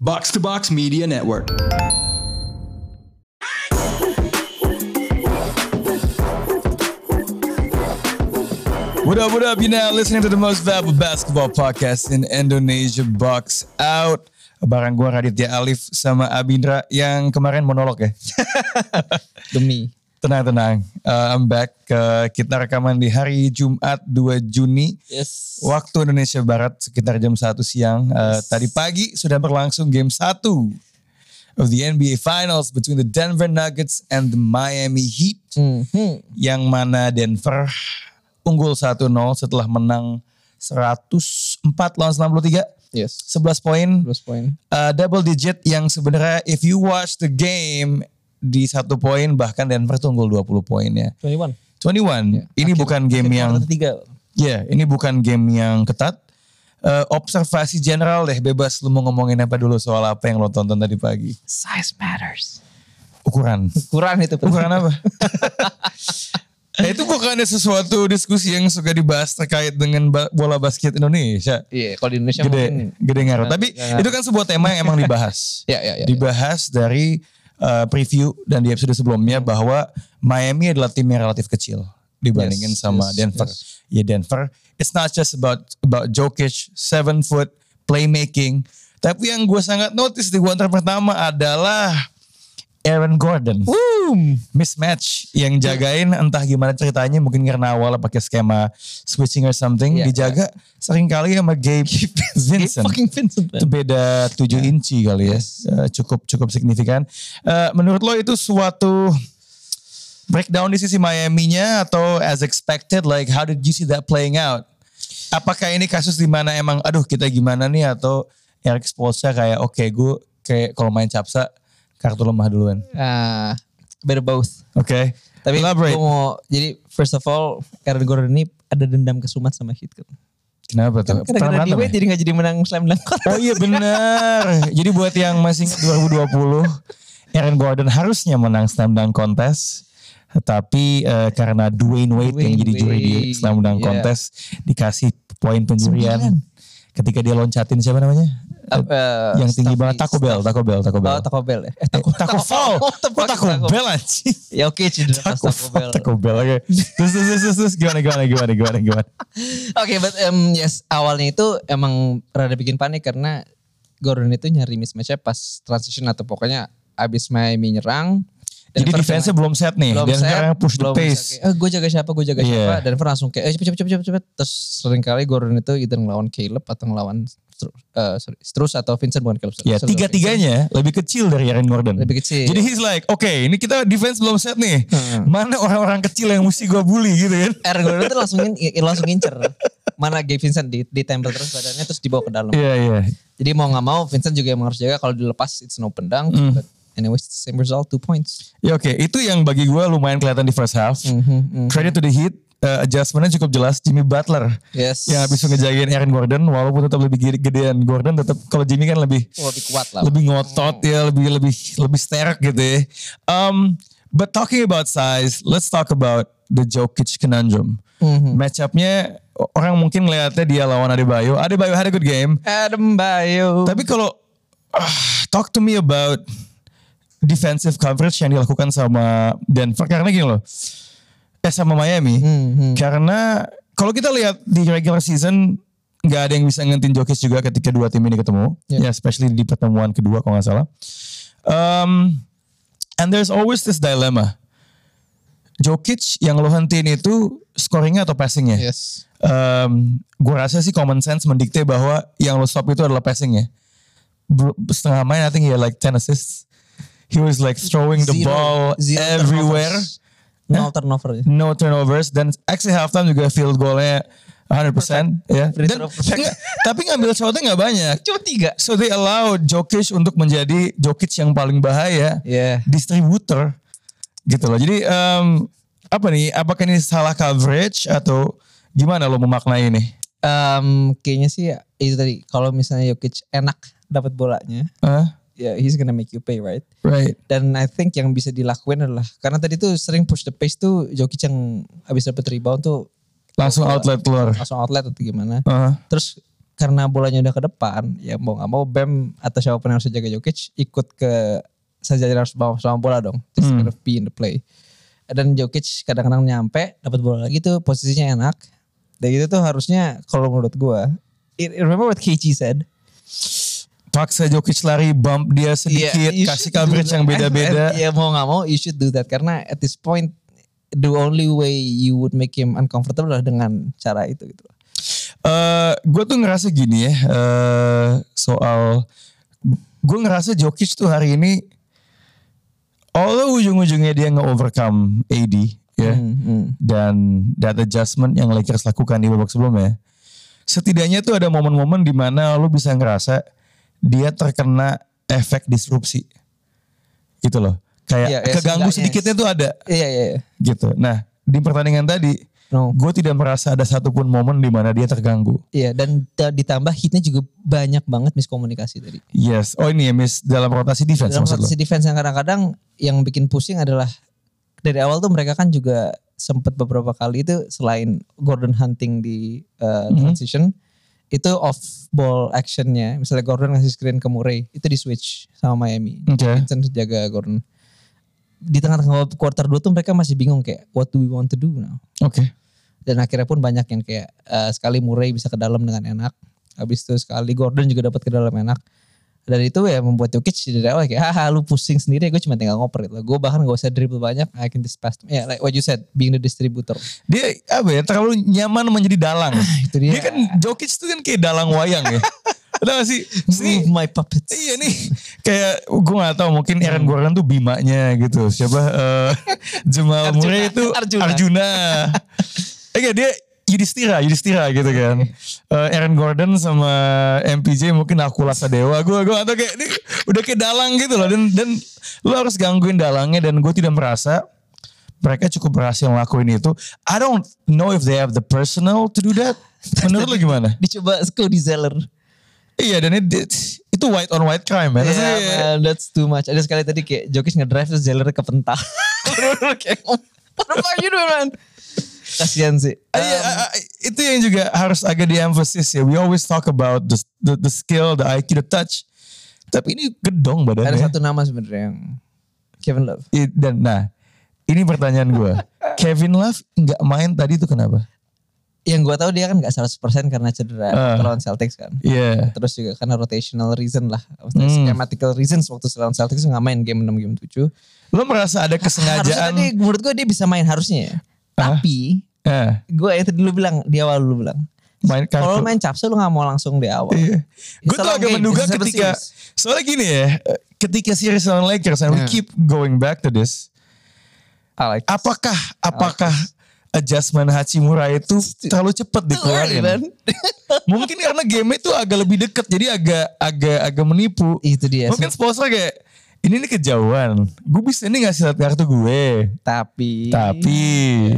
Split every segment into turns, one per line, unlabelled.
Box to Box Media Network. What up, what up? You're now listening to the most valuable basketball podcast in Indonesia, Box Out. Barang gue Raditya Alif sama Abindra yang kemarin monolog ya.
demi
Tenang-tenang, Uh, I'm back. Uh, kita rekaman di hari Jumat 2 Juni.
yes
Waktu Indonesia Barat sekitar jam 1 siang. Uh, tadi pagi sudah berlangsung game 1 of the NBA Finals between the Denver Nuggets and the Miami Heat.
Mhm.
Yang mana Denver unggul 1-0 setelah menang 104 lawan 93.
yes
11 poin,
plus poin
uh, double digit yang sebenarnya if you watch the game di satu poin bahkan Denver tuh unggul 20 poin ya.
21
21. ini bukan game yang
ketiga
Ya, ini bukan game yang ketat. Eh, observasi general deh, bebas lu mau ngomongin apa dulu soal apa yang lo tonton tadi pagi.
size matters
Ukuran.
ukuran itu penting.
Ukuran apa? Eh, itu bukannya sesuatu diskusi yang suka dibahas terkait dengan ba- bola basket Indonesia.
iya kalau di Indonesia mungkin
Gede, gede ngaruh. Tapi
Nggak-
itu kan sebuah tema yang emang dibahas.
ya ya ya
Dibahas dari eh, preview dan di episode sebelumnya bahwa Miami adalah tim yang relatif kecil dibandingin
Yes,
sama
yes,
Denver. Ya Denver, it's not just about about Jokic, seven foot playmaking. Tapi yang gue sangat notice di quarter pertama adalah Aaron Gordon
boom
mismatch
Hmm.
yang jagain entah gimana ceritanya mungkin karena awal pakai skema switching or something
Iya,
dijaga seringkali sama Gabe Vincent
fucking Iya. Vincent
itu beda 7 inci kali ya. Eh, cukup cukup signifikan. Eh, menurut lo itu suatu breakdown di sisi Miami-nya atau as expected like how did you see that playing out? Apakah ini kasus di mana emang aduh kita gimana nih atau Eric Spoelstra kayak oke gue kayak kalau main capsa kartu lemah duluan.
ah better both
Oke.
tapi
Elaborate.
gue mau jadi first of all Aaron Gordon ini ada dendam ke Sumat sama Heat kan
Kenapa tuh?
karena
Pernah
di
berantem ya?
jadi gak jadi menang slam dunk contest.
Oh iya benar. Jadi buat yang masih ingat 2020, Aaron Gordon harusnya menang slam dunk contest. Tapi eh, karena Dwayne Wade yang
Dwayne
jadi juri di
Wade,
slam dunk
iya.
contest dikasih poin penjurian
Sembilan.
ketika dia loncatin siapa namanya?
Eh,
yang tinggi
Staffy.
banget Taco Bell, Taco Bell, Taco Bell.
Oh, Taco Bell ya. Eh,
Taco, Taco Fall.
Oh,
Kok Taco Bell anjing?
Ya oke, cedera
Taco
pas Taco
Fall,
Bell.
Taco Bell. Oke. Terus, terus, terus, terus, terus, gimana, gimana, gimana, gimana, gimana.
Oke, but um, yes, awalnya itu emang rada bikin panik karena Gordon itu nyari mismatch-nya pas transition atau pokoknya abis Miami nyerang.
Jadi
Denver
defense-nya belum set nih.
belum
Dan
set,
sekarang push the
belum
pace.
bisa kayak, Eh, gue jaga siapa, gue jaga
Iya.
siapa. Denver langsung kayak, eh cepet, cepet, cepet, cepet. Terus seringkali Gordon itu either ngelawan Caleb atau ngelawan Stru- eh, sorry, Strus atau Vincent bukan Caleb. Strus.
Ya,
Sorry, Vincent.
tiga-tiganya lebih kecil dari Aaron Gordon.
Lebih kecil.
Jadi he's like, oke ini kita defense belum set nih.
Hmm.
Mana orang-orang kecil yang mesti gue bully gitu kan.
Aaron Er, Gordon itu langsung, ngin- langsung ngincer. Mana Gabe Vincent di, ditempel terus badannya terus dibawa ke dalam.
Iya, iya.
Jadi mau nggak mau Vincent juga emang harus jaga kalau dilepas it's no pendang.
Hmm.
But anyways it's the same result two points.
Ya oke, itu yang bagi gue lumayan kelihatan di first half.
Hmm,
Credit to the Heat, eh, adjustmentnya cukup jelas. Jimmy Butler
Yes.
yang Ya, habis ngejagain Aaron Gordon, walaupun tetap lebih gede- gedean Gordon, tetap kalau Jimmy kan lebih
lebih kuat lah.
lebih ngotot ya, lebih lebih lebih sterk gitu. ya. Um, but talking about size, let's talk about the Jokic conundrum. Match up-nya orang mungkin ngeliatnya dia lawan Adebayo. Adebayo had a good game.
Adam Bayo.
Tapi kalau ah, talk to me about defensive coverage yang dilakukan sama Denver karena gini loh. Eh sama Miami. Karena kalau kita lihat di regular season nggak ada yang bisa ngentin Jokic juga ketika dua tim ini ketemu. Ya, especially di pertemuan kedua kalau nggak salah. Um, and there's always this dilemma. Jokic yang lo hentiin itu scoringnya atau passingnya?
Yes.
um, gue rasa sih common sense mendikte bahwa yang lo stop itu adalah passingnya. Bel- Setengah main I think he had like 10 assists. He was like throwing the ball everywhere.
No turnover.
No turnovers. Dan actually halftime juga field goalnya 100%. Ya.
Free
Dan-
throw perfect.
Nggak, tapi ngambil shotnya nggak banyak.
Cuma tiga.
So they allowed Jokic untuk menjadi Jokic yang paling bahaya
Yeah.
distributor gitu loh. Jadi em, apa nih? Apakah ini salah coverage atau gimana lo memaknai ini?
Um, kayaknya sih ya, itu tadi kalau misalnya Jokic enak dapat bolanya,
Hah?
ya he's gonna make you pay right.
Right.
Dan I think yang bisa dilakuin adalah karena tadi tuh sering push the pace tuh Jokic yang habis dapet rebound tuh
Langsung outlet keluar.
langsung outlet atau gimana.
Uh,
Terus karena bolanya udah ke depan, ya mau nggak mau Bam atau siapapun yang harus jaga Jokic ikut ke sajalah harus bawa sama bola dong. Just
Hmm.
kind of be in the play. Dan Jokic kadang-kadang nyampe, dapat bola lagi tuh posisinya enak. Dan itu tuh harusnya kalau menurut gua, it- remember what KG said?
Paksa Jokic lari bump dia sedikit,
Yeah, Iya, you
Iya, kasih
should do
coverage
that.
yang beda-beda.
Ya mau nggak mau you should do that karena at this point the only way you would make him uncomfortable adalah dengan cara itu gitu.
eh gue tuh ngerasa gini ya eh soal gue ngerasa Jokic tuh hari ini although ujung-ujungnya dia nge-overcome AD ya
Hmm,
dan that adjustment yang Lakers lakukan di babak sebelumnya setidaknya tuh ada momen-momen di mana lo bisa ngerasa dia terkena efek disrupsi gitu loh kayak
Iya, ya,
keganggu
seenggaknya.
sedikitnya tuh ada
hmm. Iya iya iya.
gitu nah di pertandingan tadi
No.
gue tidak merasa ada satupun momen di mana dia terganggu
Iya dan da- ditambah hitnya juga banyak banget miskomunikasi tadi.
Yes. Oh ini ya miss dalam rotasi defense
Dalam
maksud lo.
rotasi defense yang kadang-kadang yang bikin pusing adalah dari awal tuh mereka kan juga sempet beberapa kali itu selain Gordon hunting di uh,
Mhm.
transition itu off ball actionnya misalnya Gordon ngasih screen ke Murray itu di switch sama Miami
Oke.
Vincent jaga Gordon di tengah-tengah quarter 2 tuh mereka masih bingung kayak what do we want to do now
Oke.
dan akhirnya pun banyak yang kayak eh, sekali Murray bisa ke dalam dengan enak habis itu sekali Gordon juga dapat ke dalam enak dan itu ya membuat Jokic dari awal kayak haha lu pusing sendiri gue cuma tinggal ngoper gitu gue bahkan gak usah dribble banyak I can just pass ya like what you said being the distributor
Dia apa ya terlalu nyaman menjadi dalang.
itu dia,
Dia kan Jokic itu kan kayak dalang wayang ya. Udah gak sih?
move
Sini,
my puppets
iya nih kayak gue gak tahu mungkin
Hmm.
Aaron Gordon tuh bimanya gitu. Siapa eh, Jamal
Arjuna.
Murray itu
Arjuna.
Arjuna. Eh gak, dia Yudhistira, Yudhistira gitu kan. Eh, Aaron Gordon sama MPJ mungkin aku lasa dewa. Gue gue atau kayak ini udah kayak dalang gitu loh. Dan dan lo harus gangguin dalangnya dan gue tidak merasa mereka cukup berhasil ngelakuin itu. I don't know if they have the personal to do that. Menurut lo gimana?
dicoba Cody Zeller
Iya dan itu itu white on white crime man.
yeah,
Maksudnya,
man, that's too much ada sekali tadi kayak Jokic ngedrive terus Zeller kepental kayak what the fuck you doing man kasian sih
Ah, iya, ah, ah, itu yang juga harus agak diemphasis ya. We always talk about the the, the skill, the IQ, the touch. Tapi ini gedong
ada
badannya.
satu nama sebenarnya yang Kevin Love
I- dan nah, ini pertanyaan gue. Kevin Love nggak main tadi itu kenapa?
yang gue tahu dia kan nggak 100% karena cedera
Ah.
lawan Celtics kan
Iya.
terus juga karena rotational reason lah maksudnya
Hmm.
schematical reasons waktu lawan Celtics nggak main game 6 game 7
Lo merasa ada
harusnya tadi
kesengajaan?
menurut gue dia bisa main harusnya ya.
Ah.
tapi
Eh,
gue itu dulu bilang di awal dulu bilang
main
kalau
kartu.
main capsu lu nggak mau langsung di awal
Gue Iya. tuh
long
agak
game,
menduga
it's a seven
ketika
series.
soalnya gini ya, eh, ketika series lawan Lakers and we
Yeah.
keep going back to this.
I like this.
Apakah apakah adjustment Hachimura itu terlalu cepat
Too early,
dikeluarin?
man.
Mungkin karena game itu agak lebih deket jadi agak agak agak menipu.
itu dia
Mungkin sponsor kayak ini nih kejauhan. Gue bisa ini ngasih lihat kartu gue.
tapi
Tapi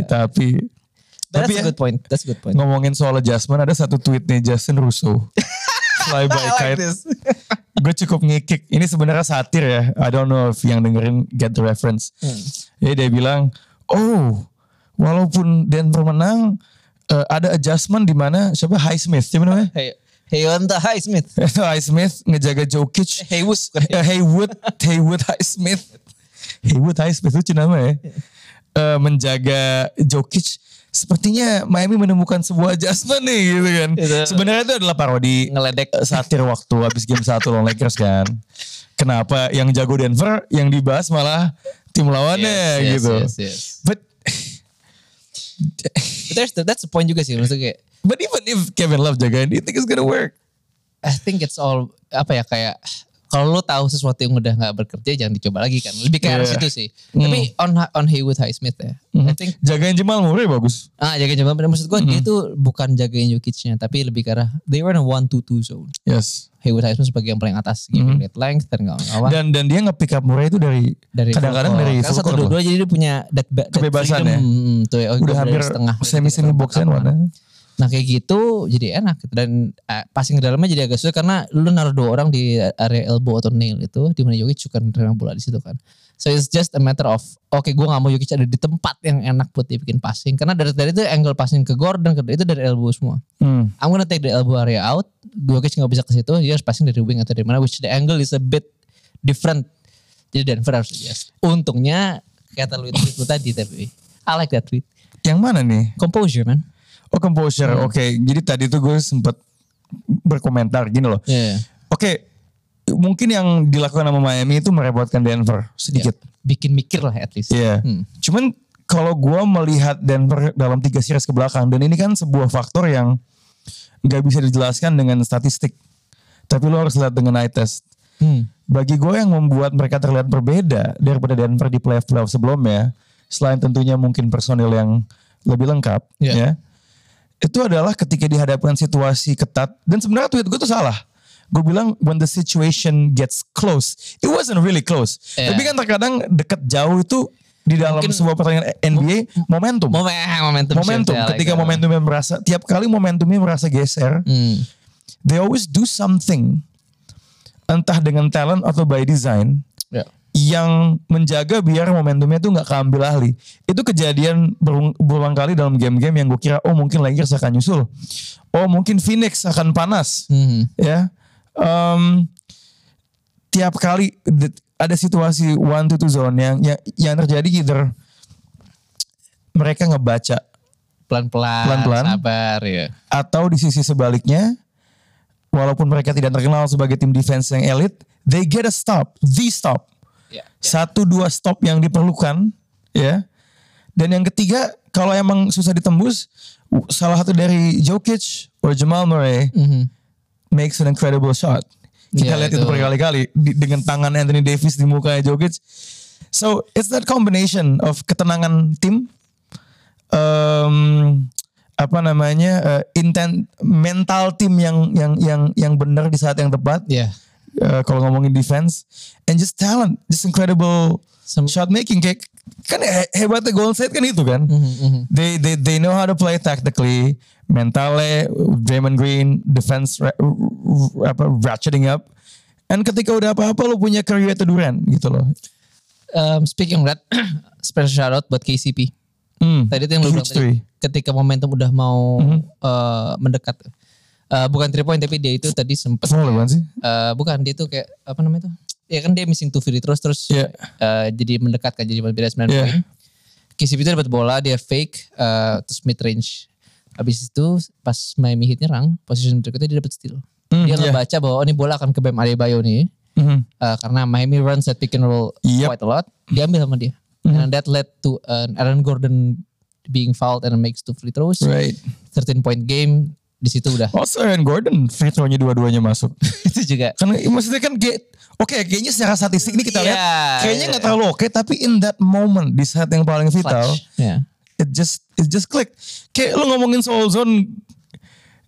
tapi
But
tapi
that's a
ya,
good point that's a good point
ngomongin soal adjustment ada satu tweetnya Justin Russo. Fly by
I like
kite.
this
Gue cukup ngikik. Ini sebenarnya satir ya. I don't know if yang dengerin get the reference. Jadi dia bilang, oh walaupun Denver menang eh, ada adjustment di mana siapa Highsmith siapa namanya?
hey Heyonta Highsmith
Itu Highsmith ngejaga Jokic.
Heywood bukan
Eh, Haywood, Haywood Highsmith. Haywood Highsmith lucu nama ya. Eh, menjaga Jokic. Sepertinya Miami menemukan sebuah adjustment nih gitu kan.
Itu-
Sebenarnya itu adalah parodi
ngeledek
eh, satir waktu habis game satu lawan Lakers kan. Kenapa yang jago Denver yang dibahas malah tim lawannya
Yes, yes,
gitu.
yes, yes.
But
But there's the, that's the point juga sih maksudnya kayak
but even if Kevin Love jagain, do you think it's gonna work?
I think it's all apa ya kayak kalau lo tahu sesuatu yang udah nggak bekerja jangan dicoba lagi kan lebih kayak arah
Yeah.
situ sih
Hmm.
tapi on on Haywood Highsmith ya I think
Jagain Jamal Murray bagus.
ah jaga jaga maksud gue dia
Hmm.
tuh bukan jagain Jokic-nya tapi lebih ke arah they were in a one to two zone
Yes.
Haywood Highsmith sebagai yang paling atas giving it length dan kawan-kawan
Hmm. Dan dan dia nge-pick up Murray itu dari kadang-kadang
full court.
dari
Kan
full
satu
court
dua
loh.
dua jadi dia punya that, ba- that
Kebebasan
freedom.
ya.
Hmm, tuh ya, oh,
udah
gua dari
hampir kan,
setengah
semi semi box end one. ya.
Nah kayak gitu jadi enak dan eh, passing ke dalamnya jadi agak susah karena lu naruh dua orang di area elbow atau nail itu di mana Jokic suka nerima bola di situ kan. So it's just a matter of oke gue gak mau Jokic ada di tempat yang enak buat dibikin passing karena dari dari itu angle passing ke Gordon ke- itu dari elbow semua.
Hmm.
I'm gonna take the elbow area out. Jokic nggak bisa ke situ dia harus passing dari wing atau dari mana which the angle is a bit different. Jadi Denver harus adjust. Untungnya kata lu itu itu tadi tapi I like that tweet.
Yang mana nih?
Composure man.
Oh composure. Oke. Jadi tadi tuh gue sempet berkomentar gini loh.
Yeah.
Oke. Mungkin yang dilakukan sama Miami itu merepotkan Denver sedikit.
Bikin mikir lah at least.
Ya. Iya.
Hmm.
Cuman kalau gue melihat Denver dalam tiga series ke belakang dan ini kan sebuah faktor yang nggak bisa dijelaskan dengan statistik. Tapi lo harus lihat dengan eye test.
Hmm.
Bagi gue yang membuat mereka terlihat berbeda daripada Denver di playoff playoff sebelumnya, selain tentunya mungkin personil yang lebih lengkap,
Iya.
ya, itu adalah ketika dihadapkan situasi ketat. Dan sebenarnya tweet gue tuh salah. Gue bilang when the situation gets close, it wasn't really close.
Iya.
Tapi kan terkadang dekat jauh itu di dalam
Mungkin-
sebuah pertandingan NBA momentum,
Momen, ah, momentum.
momentum.
shift, I like
Ketika
that.
momentumnya merasa tiap kali momentumnya merasa geser,
Hmm.
they always do something entah dengan talent atau by design
Ya.
yang menjaga biar momentumnya tuh nggak keambil ahli. Itu kejadian berung- berulang kali dalam game-game yang gue kira oh mungkin Lakers akan nyusul. Oh mungkin Phoenix akan panas.
Hmm.
Ya. Em, tiap kali de- ada situasi one to two zone yang yang, yang terjadi either mereka ngebaca
Pelan-pelan.
Pelan-pelan.
Sabar ya.
atau di sisi sebaliknya walaupun mereka tidak terkenal sebagai tim defense yang elit they get a stop the stop
Ya.
satu dua stop yang diperlukan ya dan yang ketiga kalau emang susah ditembus w- salah satu dari Jokic or Jamal Murray
Mhm.
makes an incredible shot kita
Ya,
lihat itu,
itu.
berkali-kali di- dengan tangan Anthony Davis di mukanya Jokic so it's that combination of ketenangan tim em, apa namanya eh, intent mental tim yang yang yang yang benar di saat yang tepat
Ya.
eh, kalau ngomongin defense and just talent just incredible
Sem-
shot making kayak kan he- hebatnya Golden State kan itu kan
Mhm, mhm.
they they they know how to play tactically mentale Draymond Green defense ra- ra- apa ratcheting up and ketika udah apa-apa lo punya Curry atau Durant gitu loh
Um, speaking of that, special shout out buat KCP.
Hmm.
Tadi itu yang lu bilang
Huge
tadi,
three. Hmm.
ketika momentum udah mau eh, mendekat. Eh, bukan three point tapi dia itu tadi sempat
Foul apaan kan sih?
Eh, bukan dia tuh kayak apa namanya tuh? Ya kan dia missing two free throws terus
Iya.
eh, jadi mendekat kan jadi beda 9
Iya.
poin. KCP itu dapat bola dia fake eh, terus mid range. Habis itu pas Miami Heat nyerang, position berikutnya dia dapat steal.
Hmm,
dia
iya.
ngebaca bahwa oh, ini bola akan ke Bam Adebayo nih.
Mhm.
Eh, karena Miami runs at pick and roll
Yep. Hmm.
quite a lot. Diambil sama dia. And that led to an Aaron Gordon being fouled and makes two free throws.
right Oh,
13 point game di situ udah.
also Aaron Gordon free throw-nya dua-duanya masuk
itu juga
kan maksudnya kan kayak oke kayaknya secara statistik ini kita
Iya,
lihat kayaknya
iya.
nggak terlalu oke tapi in that moment di saat yang paling vital
clutch. Ya.
it just it just click kayak lu ngomongin soal zone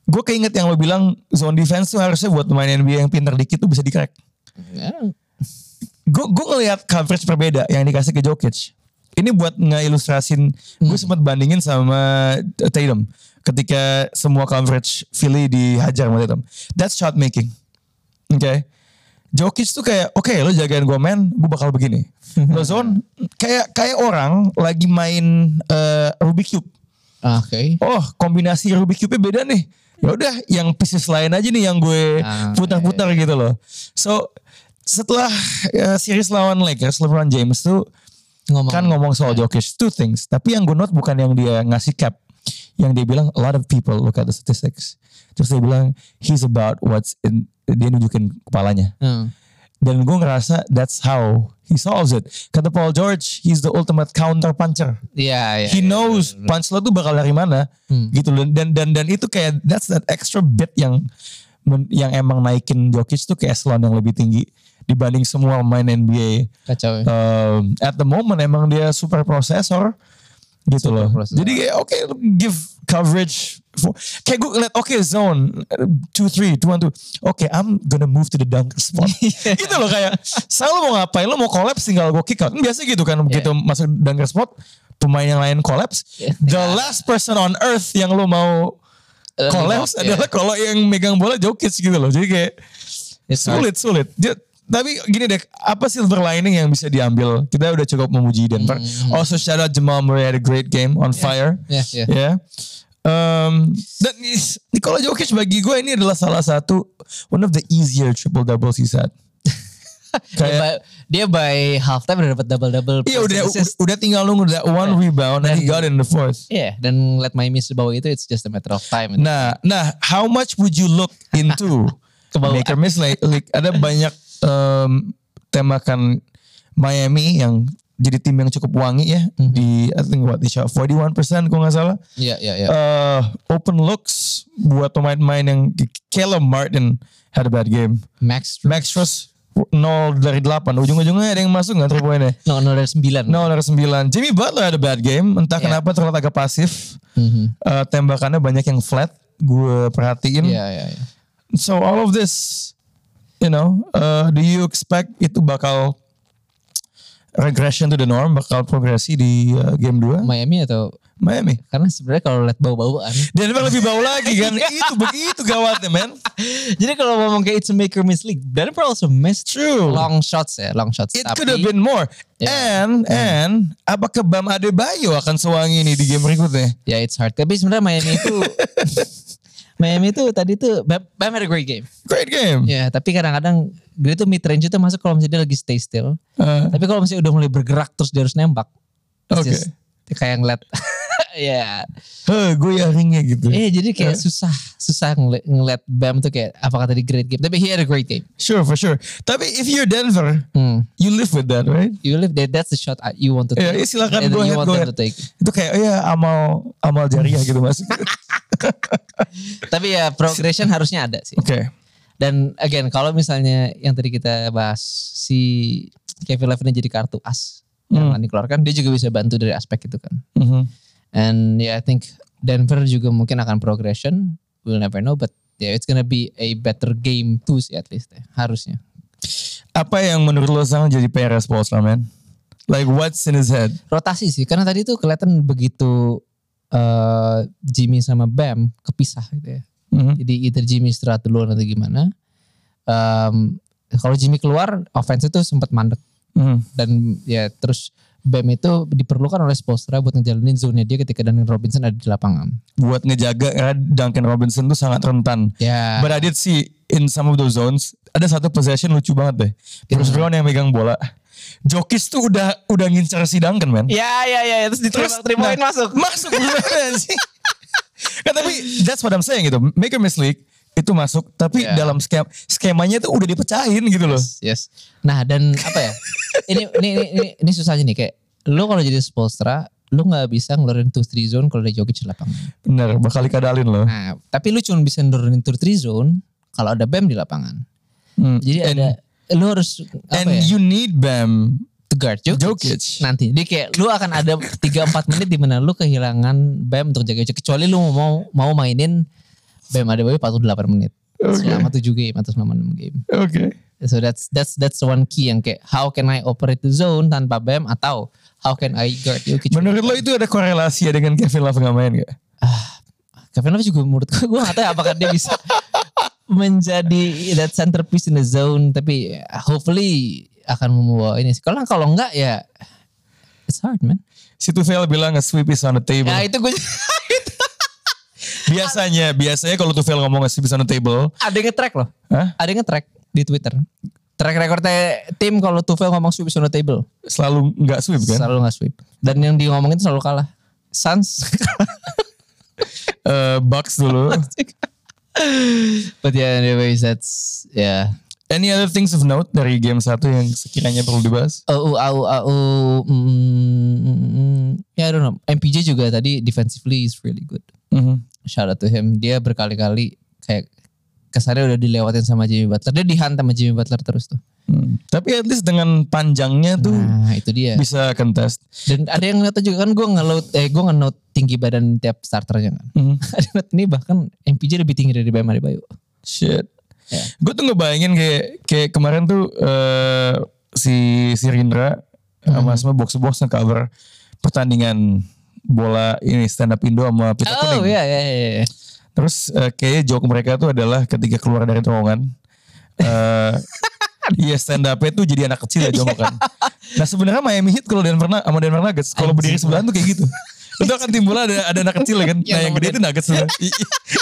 gue keinget yang lo bilang zone defense tuh harusnya buat pemain NBA yang pinter dikit tuh bisa di crack
Ya.
gue gue ngelihat coverage berbeda yang dikasih ke Jokic. Ini buat ngeilustrasin, gue sempat bandingin sama Tatum ketika semua coverage Philly dihajar sama Tatum. That's shot making. Oke. Jokic tuh kayak, oke lo jagain gue men, gue bakal begini. Lo zone, kayak kayak orang lagi main eh, Rubik Cube.
Oke.
Oh kombinasi Rubik Cube beda nih. Ya udah, yang pieces lain aja nih yang gue
Ah,
putar-putar gitu loh. So setelah eh, series lawan Lakers, LeBron James tuh
Ngomong.
kan ngomong soal Jokic two things. Tapi yang gue note bukan yang dia ngasih cap, yang dia bilang a lot of people look at the statistics. Terus dia bilang he's about what's in dia nunjukin kepalanya.
Hmm.
Dan gue ngerasa that's how he solves it. Kata Paul George, he's the ultimate counter puncher.
Iya, iya.
He
iya.
knows punch lo tuh bakal dari mana
Hmm.
gitu loh. Dan dan dan itu kayak that's that extra bit yang men- yang emang naikin Jokic tuh ke eselon yang lebih tinggi dibanding semua pemain NBA.
Kacau ya.
Um, at the moment emang dia super processor gitu loh.
processor.
Jadi kayak oke give coverage for, kayak gue ngeliat oke zone 2 3 2 1 2. Oke, I'm gonna move to the dunk spot. gitu loh kayak selalu mau ngapain lo mau collapse tinggal gue kick out. Biasa gitu kan begitu masuk dunk spot pemain yang lain collapse,
Yeah.
the last person on earth yang lo mau iya.
Dan
Uh, Collapse
Jokic,
adalah kalau yang megang bola Jokic gitu loh. Jadi kayak
It's hard.
sulit sulit. Dia- tapi gini deh, apa silver lining yang bisa diambil? Kita udah cukup memuji Denver. Also shout out Jamal Murray had a great game on fire.
Hmm. Yeah, yeah.
Yeah. Um, dan is- Nikola Jokic bagi gue ini adalah salah satu one of the easier triple doubles he's had.
Dia
Kayak
by, dia by halftime udah dapat double double.
iya udah udah tinggal nunggu that one rebound and he got it in the fourth.
Iya, dan let my miss di bawah itu it's just a matter of time.
Nah, nah, how much would you look into
Kebawaan.
make or miss like, like, ada banyak em, temakan Miami yang jadi tim yang cukup wangi ya di I think what they shot 41% kalau nggak salah.
Iya, iya, iya.
Eh, open looks buat pemain-pemain yang Caleb Martin had a bad game.
Max
Max Truss 0 dari 8 ujung-ujungnya ada yang masuk nggak 3 poinnya
no, no, dari sembilan.
0 dari 9 Jimmy Butler had a bad game entah
Yeah.
kenapa terlihat agak pasif
Iya. Mhm.
Eh, tembakannya banyak yang flat gue perhatiin
Iya, iya, iya.
so all of this you know uh, do you expect itu bakal regression to the norm bakal progresi di uh, game 2
Miami atau
Miami
karena sebenarnya kalau lihat bau-bauan.
Denver lebih bau lagi kan
Iya.
itu begitu gawatnya man
Jadi kalau ngomong kayak it's a make or miss league, Denver also missed
true
long Iya. shots ya, long shots.
it could have been more
Hmm.
and and apakah Bam Adebayo akan sewangi ini di game berikutnya
Ya it's hard. Tapi sebenarnya Miami itu Miami itu tadi tuh Bam, Bam had a great game.
great game
Ya, tapi kadang-kadang dia tuh mid range itu masuk kalau misalnya dia lagi stay still.
Uh,
Tapi kalau misalnya udah mulai bergerak terus dia harus nembak. it's
Oke.
just kayak ngeliat. ya.
heh, gue yaringnya gitu
Eh jadi kayak susah, susah ngeliat, ngeliat Bam tuh kayak "Ah, apakah tadi great game. Tapi he had a great game.
sure for sure tapi if you're Denver
Hmm.
you live with that right
You live there, that's the shot you want to
Ya, ya,
take.
silakan,
And
go
you
ahead,
want
go
them
ahead.
to take.
itu kayak oh ya amal amal jariah gitu masuk
Tapi ya progression harusnya ada sih.
Oke.
Dan again kalau misalnya yang tadi kita bahas si Kevin Levine jadi kartu as
Hmm,
yang akan dikeluarkan, dia juga bisa bantu dari aspek itu kan.
Mhm.
And yeah, I think Denver juga mungkin akan progression. We'll never know, but yeah, it's gonna be a better game too sih at least ya. harusnya.
Apa yang menurut lo sekarang jadi PR Spolstra, man? Like what's in his head?
Rotasi sih, karena tadi tuh kelihatan begitu eh, Jimmy sama Bam kepisah gitu ya.
Mhm.
Jadi either Jimmy istirahat duluan atau gimana. Em, kalau Jimmy keluar, offense itu sempat mandek.
Mhm.
dan ya terus Bam itu diperlukan oleh Spostra buat ngejalanin zone dia ketika Duncan Robinson ada di lapangan.
Buat ngejaga karena Duncan Robinson tuh sangat rentan.
Ya.
But I did see in some of those zones ada satu possession lucu banget deh. Bruce Brown yang megang bola. Jokis tuh udah udah ngincer si Duncan, man.
Ya ya ya terus diterima three point
nah,
masuk.
Masuk gimana sih? Kan tapi that's what I'm saying gitu. Make or miss league itu masuk tapi
Yeah.
dalam skem skemanya tuh udah dipecahin gitu loh.
Yes. Nah dan apa ya? ini, ini ini ini ini susahnya nih kayak lu kalau jadi Spostra lu nggak bisa ngeluarin 2-3 zone kalau ada Jokic di lapangan.
Bener, bakal dikadalin loh.
Nah, tapi lu cuma bisa nurunin 2-3 zone kalau ada Bam di lapangan.
Hmm.
Jadi
And-
ada lu harus apa
And
ya?
you need Bam
to guard Jokic.
Jokic.
Nanti dia kayak lu akan ada 3 4 menit di mana lu kehilangan Bam untuk jaga Jokic kecuali lu mau mau mainin Bam ada Bam 48 menit.
Oke.
Selama 7 game atau selama 6 game.
Oke.
So that's that's that's the one key yang kayak how can I operate the zone tanpa Bam atau how can I guard Jokic?
Menurut lo itu ada korelasi ya dengan Kevin Love nggak main gak?
Ah, Kevin Love juga menurut gue gue gak tahu ya apakah dia bisa menjadi that centerpiece in the zone tapi hopefully akan membawa ini. sih. Kalau kalau enggak ya it's hard man.
Si Tufel bilang a sweep is on the table.
Ya itu gue
biasanya, biasanya kalau Tufel ngomong a sweep is on the table,
ada yang nge-track loh.
Hah?
Ada yang nge-track di Twitter. Track recordnya tim kalau Tufel ngomong sweep is on the table.
selalu nggak sweep kan?
Selalu gak sweep. Dan yang di ngomongin tuh selalu kalah. Suns.
Eh, Bucks dulu.
But yeah anyways that's yeah.
Any other things of note dari game satu yang sekiranya perlu dibahas?
Au au au oh, mm, mm, yeah I don't know. MPJ juga tadi defensively is really good.
Mhm.
Shout out to him. Dia berkali-kali kayak kesannya udah dilewatin sama Jimmy Butler. Dia dihantam sama Jimmy Butler terus tuh.
Hmm. Tapi at least dengan panjangnya tuh
Nah itu dia.
bisa contest.
Dan ada yang ngeliat juga kan gue nge-load, eh gue nge-note tinggi badan tiap starternya kan.
Mhm.
Ada yang ngeliat, ini bahkan MPJ lebih tinggi dari Bam Adebayo.
Shit.
Ya.
Gue tuh ngebayangin kayak kayak kemarin tuh eh, si si Rindra sama semua box box ngecover
Oh,
pertandingan bola ini stand up Indo sama Pita Kuning.
iya iya iya.
Terus eh, kayaknya joke mereka tuh adalah ketika keluar dari terowongan. eh Iya stand up tuh jadi anak kecil ya
Iya.
jongkok kan. Nah sebenarnya Miami Heat kalau Denver Na- sama Denver Nuggets kalau berdiri sebelahan tuh kayak gitu. Itu akan timbul ada ada anak kecil ya kan. Nah
Iya,
yang
sama
gede itu Nuggets. tuh. I- i-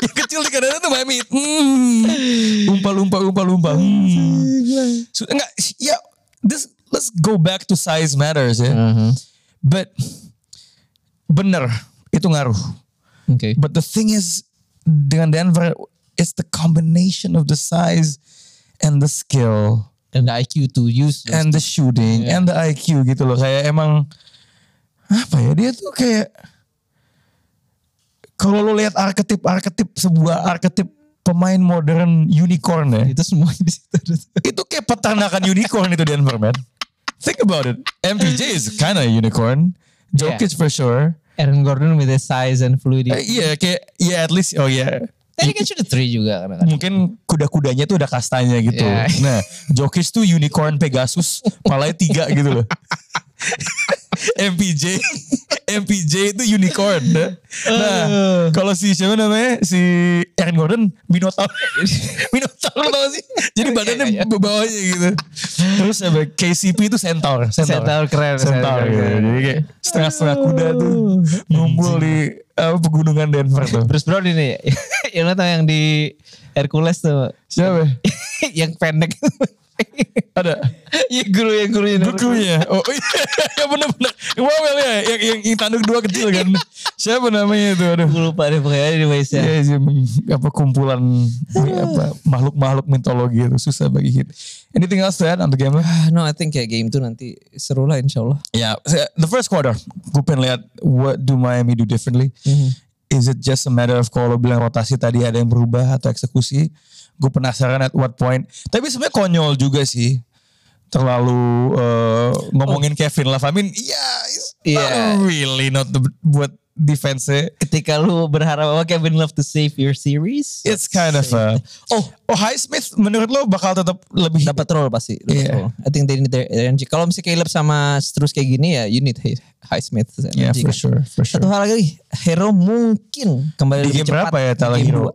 yang kecil di kanan tuh Miami Heat. Hmm. Umpa lumpa umpa lumpa. Hmm. So, enggak, ya this let's go back to size matters ya.
Mm-hmm.
But bener itu ngaruh.
Oke.
But the thing is dengan Denver it's the combination of the size and the skill
Dan the IQ to use.
and the shooting
Yeah.
and the IQ gitu loh kayak emang apa ya dia tuh kayak kalau lo lihat arketip arketip sebuah arketip pemain modern unicorn ya
itu semua di situ.
itu kayak peternakan unicorn itu Denver man think about it MPJ is kinda unicorn Jokic for sure
Aaron Gordon with his size
Eh,
and fluidity.
iya kayak ya at least oh ya
Tadi kan sudah three juga kan.
mungkin kuda-kudanya tuh udah kastanya gitu.
Iya.
Nah, Jokic tuh unicorn Pegasus, palanya tiga gitu loh. MPJ, MPJ itu unicorn. Nah, kalau si siapa namanya si Aaron Gordon, Minotaur, Minotaur lo tau gak sih? Jadi badannya
Iya, iya.
be- bawahnya gitu. Terus apa? KCP itu Centaur,
Centaur
Centaur
keren, Centaur
gitu.
keren.
Jadi kayak setengah-setengah kuda tuh ngumpul di apa, pegunungan Denver tuh.
Bruce Brown ini. yang lo tau yang di Hercules tuh.
Siapa?
yang pendek.
Ada.
ya guru yang guru yang
Gurunya. Oh iya, ya benar-benar. Wawel ya, yang, yang, yang tanduk dua kecil kan. Siapa namanya itu? Aduh.
Gue lupa deh pokoknya di Malaysia.
Ya, sih, apa kumpulan apa makhluk-makhluk mitologi itu susah bagi hit. Anything else to add on the game?
Ah, No, I think kayak game tuh nanti seru lah insya Allah.
Ya, saya- the first quarter. Gue pengen lihat what do Miami do differently.
Mm-hmm.
Is it just a matter of kalau bilang rotasi tadi ada yang berubah atau eksekusi? Gue penasaran at what point. Tapi sebenarnya konyol juga sih. Terlalu eh, ngomongin Kevin Lafamin. Iya, it's
Iya.
not really not the, buat defense
Ketika lu berharap bahwa Kevin Love to save your series,
It's kind of a... Oh, oh Highsmith menurut lo bakal tetap lebih...
dapat roll pasti. Dapat
Iya.
roll. I think they need their energy. Kalau misalnya Caleb sama terus kayak gini ya, you need High- Highsmith energy.
Yeah, for
kan.
sure, for sure.
Satu hal lagi, Hero mungkin
Di
kembali lebih
game
cepat
berapa ya
di
Tyler
game
Hero?
dua.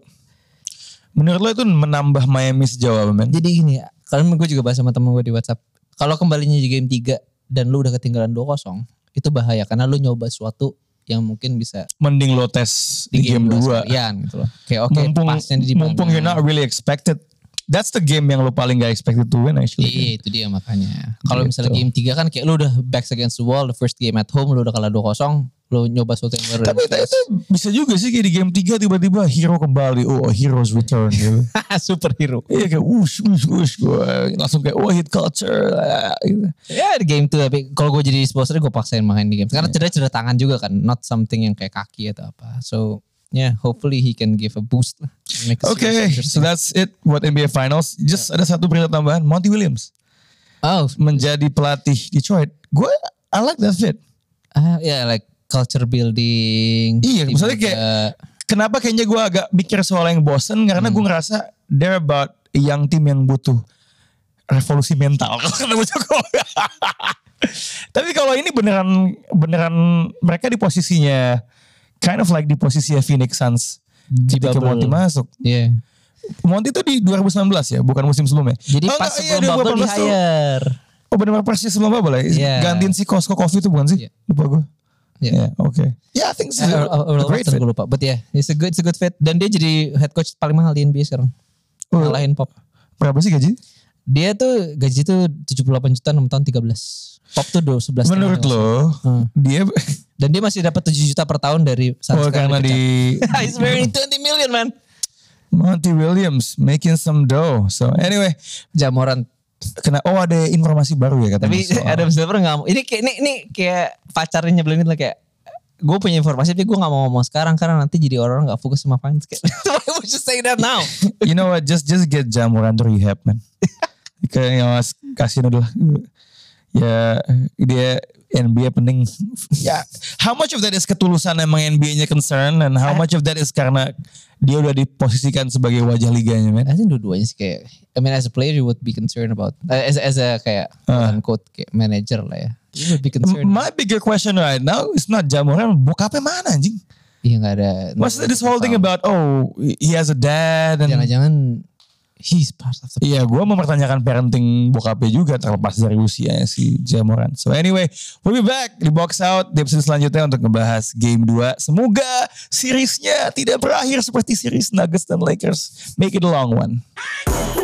Menurut lo itu menambah Miami sejauh apa, men?
Jadi gini, kalian gue juga bahas sama temen gue di WhatsApp. Kalau kembalinya di game 3 dan lu udah ketinggalan 2-0, itu bahaya karena lu nyoba sesuatu yang mungkin bisa
Mending lo tes di, game 2.
sekalian gitu loh. Kayak oke,
mumpung
pasnya di mana.
mumpung you're not really expected. That's the game yang lo paling gak expected to win actually.
Iya itu dia makanya. Kalau
Gitu.
misalnya game 3 kan kayak lu udah backs against the wall, the first game at home lu udah kalah 2-0, lu nyoba sesuatu yang baru.
Tapi itu, itu bisa juga sih kayak di game 3 tiba-tiba hero kembali. Oh, a hero's return gitu.
superhero.
iya kayak ush ush ush gua langsung kayak wah hit culture ah, gitu.
Ya di game 2 tapi kalau gue jadi sponsor gue paksain main di game. Karena
Iya.
cedera-cedera tangan juga kan, not something yang kayak kaki atau apa. So yeah, hopefully he can give a boost lah. Make the
Oke,
series
so
interesting.
that's it buat NBA Finals. Just ada satu berita tambahan, Monty Williams
oh
menjadi pelatih Detroit. Gue I like that fit.
ah, yeah like culture building.
Iya,
Tim
maksudnya kayak-
ada-
kenapa kayaknya gue agak mikir soal yang bosen karena
Hmm.
gue ngerasa they're about a young team yang butuh revolusi mental kalau ketemu Jokowi. Tapi kalau ini beneran beneran mereka di posisinya kind of like di posisinya Phoenix Suns
Di
ketika
bubble.
Monty masuk.
Iya.
Monty itu di 2019 ya, bukan musim sebelumnya.
Jadi
Oh,
pas
enggak, iya,
sebelum bubble di
2018 tuh.
hire.
Oh benar persis sebelum bubble ya.
Iya.
Gantiin si Costco Coffee itu bukan sih?
Iya.
Lupa gue.
Iya.
Ya, oke. Ya, I think it's
Eh,
a,
Earl- Earl
a great
Watson
fit.
gue lupa. But yeah, it's a good, it's a good fit. Dan dia jadi head coach paling mahal di NBA sekarang.
Oh.
Ngalahin Pop.
Berapa sih gaji?
Dia tuh gaji tuh 78 juta 6 tahun 13. Pop tuh 11 tahun.
Menurut lo,
Hmm.
dia
Dan dia masih dapat 7 juta per tahun dari saat
Oh
sekarang
karena
dipecat.
di
He's wearing 20 million man.
Monty Williams making some dough. So anyway,
Jamoran.
kena oh ada informasi baru ya katanya.
Tapi
soal-
Adam Silver gak mau. Ini kayak ini, ini kayak pacarnya nyebelin lah kayak gue punya informasi tapi gue gak mau ngomong sekarang karena nanti jadi orang gak fokus sama fans kayak why would you say that now
you know what? Just just get Jamoran to rehab man. Kayak yang mas kasih adalah ya dia NBA penting. Ya, how much of that is ketulusan emang NBA-nya concern and how much of that is karena dia udah diposisikan sebagai wajah liganya, man.
I think dua-duanya sih kayak I mean as a player you would be concerned about eh, as as a kayak uh. unquote kayak manager lah ya you would be concerned
My bigger question right now is not Jamoran bokapnya mana anjing?
Iya nggak ada.
What's this whole thing about oh he has a dad and
Jangan-jangan he's part of the.
Iya, gue mempertanyakan parenting bokapnya juga terlepas dari usianya si Jamoran. So anyway, we'll be back di box out di episode selanjutnya untuk ngebahas game 2. Semoga seriesnya tidak berakhir seperti series Nuggets dan Lakers. Make it a long one.